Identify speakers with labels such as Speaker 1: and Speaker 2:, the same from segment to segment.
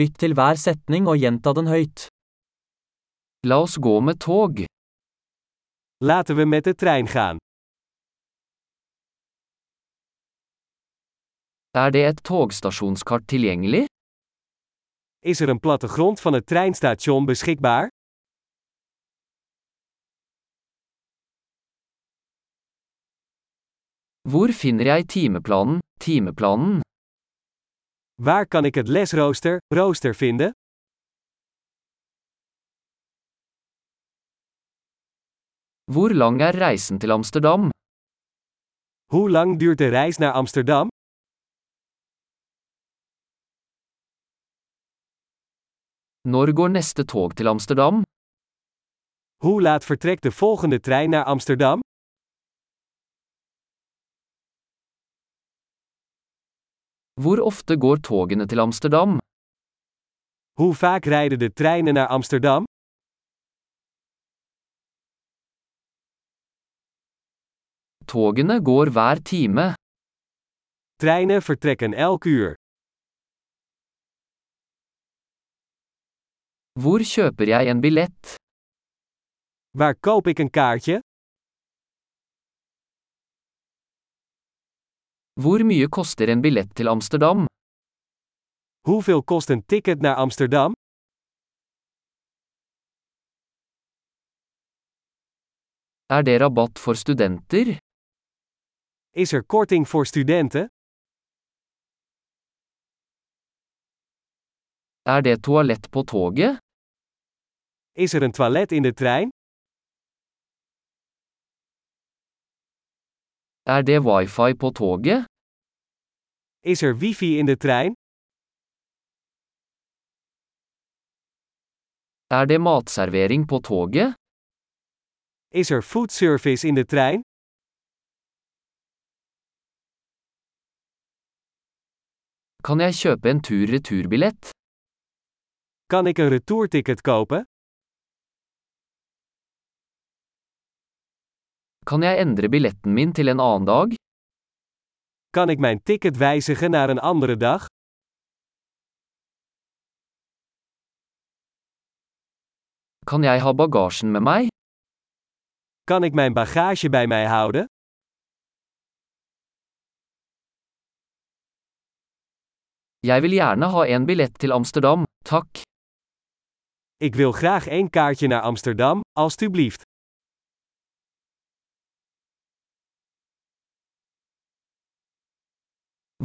Speaker 1: Lytt til hver setning og gjenta den høyt. La oss gå med tog.
Speaker 2: Laten we met de trein gaan.
Speaker 1: Er det et togstasjonskart tilgjengelig?
Speaker 2: Is er een plattegrond van het treinstation beschikbaar?
Speaker 1: Hvor finner jeg timeplanen, timeplanen?
Speaker 2: Waar kan ik het lesrooster, rooster vinden?
Speaker 1: Hvor lang er reisen til Amsterdam?
Speaker 2: Hoe lang duurt de reis naar Amsterdam?
Speaker 1: Når går neste tog til Amsterdam?
Speaker 2: Hoe laat vertrekt de volgende trein naar Amsterdam?
Speaker 1: Hvor ofte går togene til Amsterdam?
Speaker 2: Hoe vaak rijden de treinen naar Amsterdam?
Speaker 1: Togene går hver time.
Speaker 2: Treinen vertrekken elk uur.
Speaker 1: Hvor kjøper jeg en billett?
Speaker 2: Waar koop ik een kaartje?
Speaker 1: Hvor mye koster en billett til Amsterdam?
Speaker 2: Hoeveel kost een ticket naar Amsterdam?
Speaker 1: Er det rabatt for studenter?
Speaker 2: Is er korting voor studenten?
Speaker 1: Er det toalett på toget?
Speaker 2: Is er een toilet in de trein?
Speaker 1: Er det wifi på toget?
Speaker 2: Is er wifi in de trein?
Speaker 1: Er det matservering på toget?
Speaker 2: Is er foodservice in de trein?
Speaker 1: Kan jeg kjøpe en tur-returbillett?
Speaker 2: Kan ik een retourticket kopen?
Speaker 1: Kan jeg endre billetten min til en annen dag?
Speaker 2: Kan ik mijn ticket wijzigen naar een andere dag?
Speaker 1: Kan jeg ha bagasjen med meg?
Speaker 2: Kan ik mijn bagage bij mij houden?
Speaker 1: Jeg vil gjerne ha en billett til Amsterdam, takk.
Speaker 2: Ik wil graag één kaartje naar Amsterdam, alstublieft.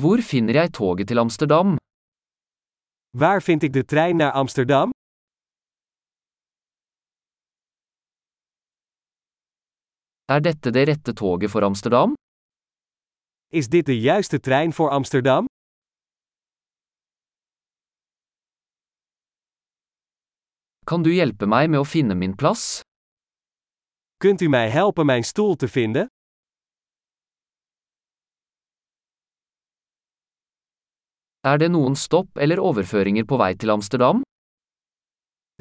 Speaker 1: Hvor finner jeg toget til Amsterdam?
Speaker 2: Waar vind ik de trein naar Amsterdam?
Speaker 1: Er dette det rette toget for Amsterdam?
Speaker 2: Is dit de juiste trein voor Amsterdam?
Speaker 1: Kan du hjelpe meg med å finne min plass?
Speaker 2: Kunt u mij helpen mijn stoel te vinden?
Speaker 1: Er det noen stopp eller overføringer på vei til Amsterdam?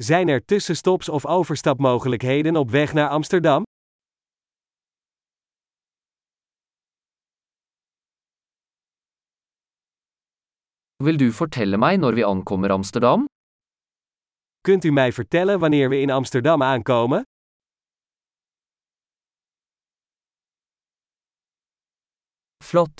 Speaker 2: Zijn er tussenstops of overstapmogelijkheden op weg naar Amsterdam?
Speaker 1: Vil du fortelle meg når vi ankommer Amsterdam?
Speaker 2: Kunt u mij vertellen wanneer we in Amsterdam aankomen?
Speaker 3: Flott!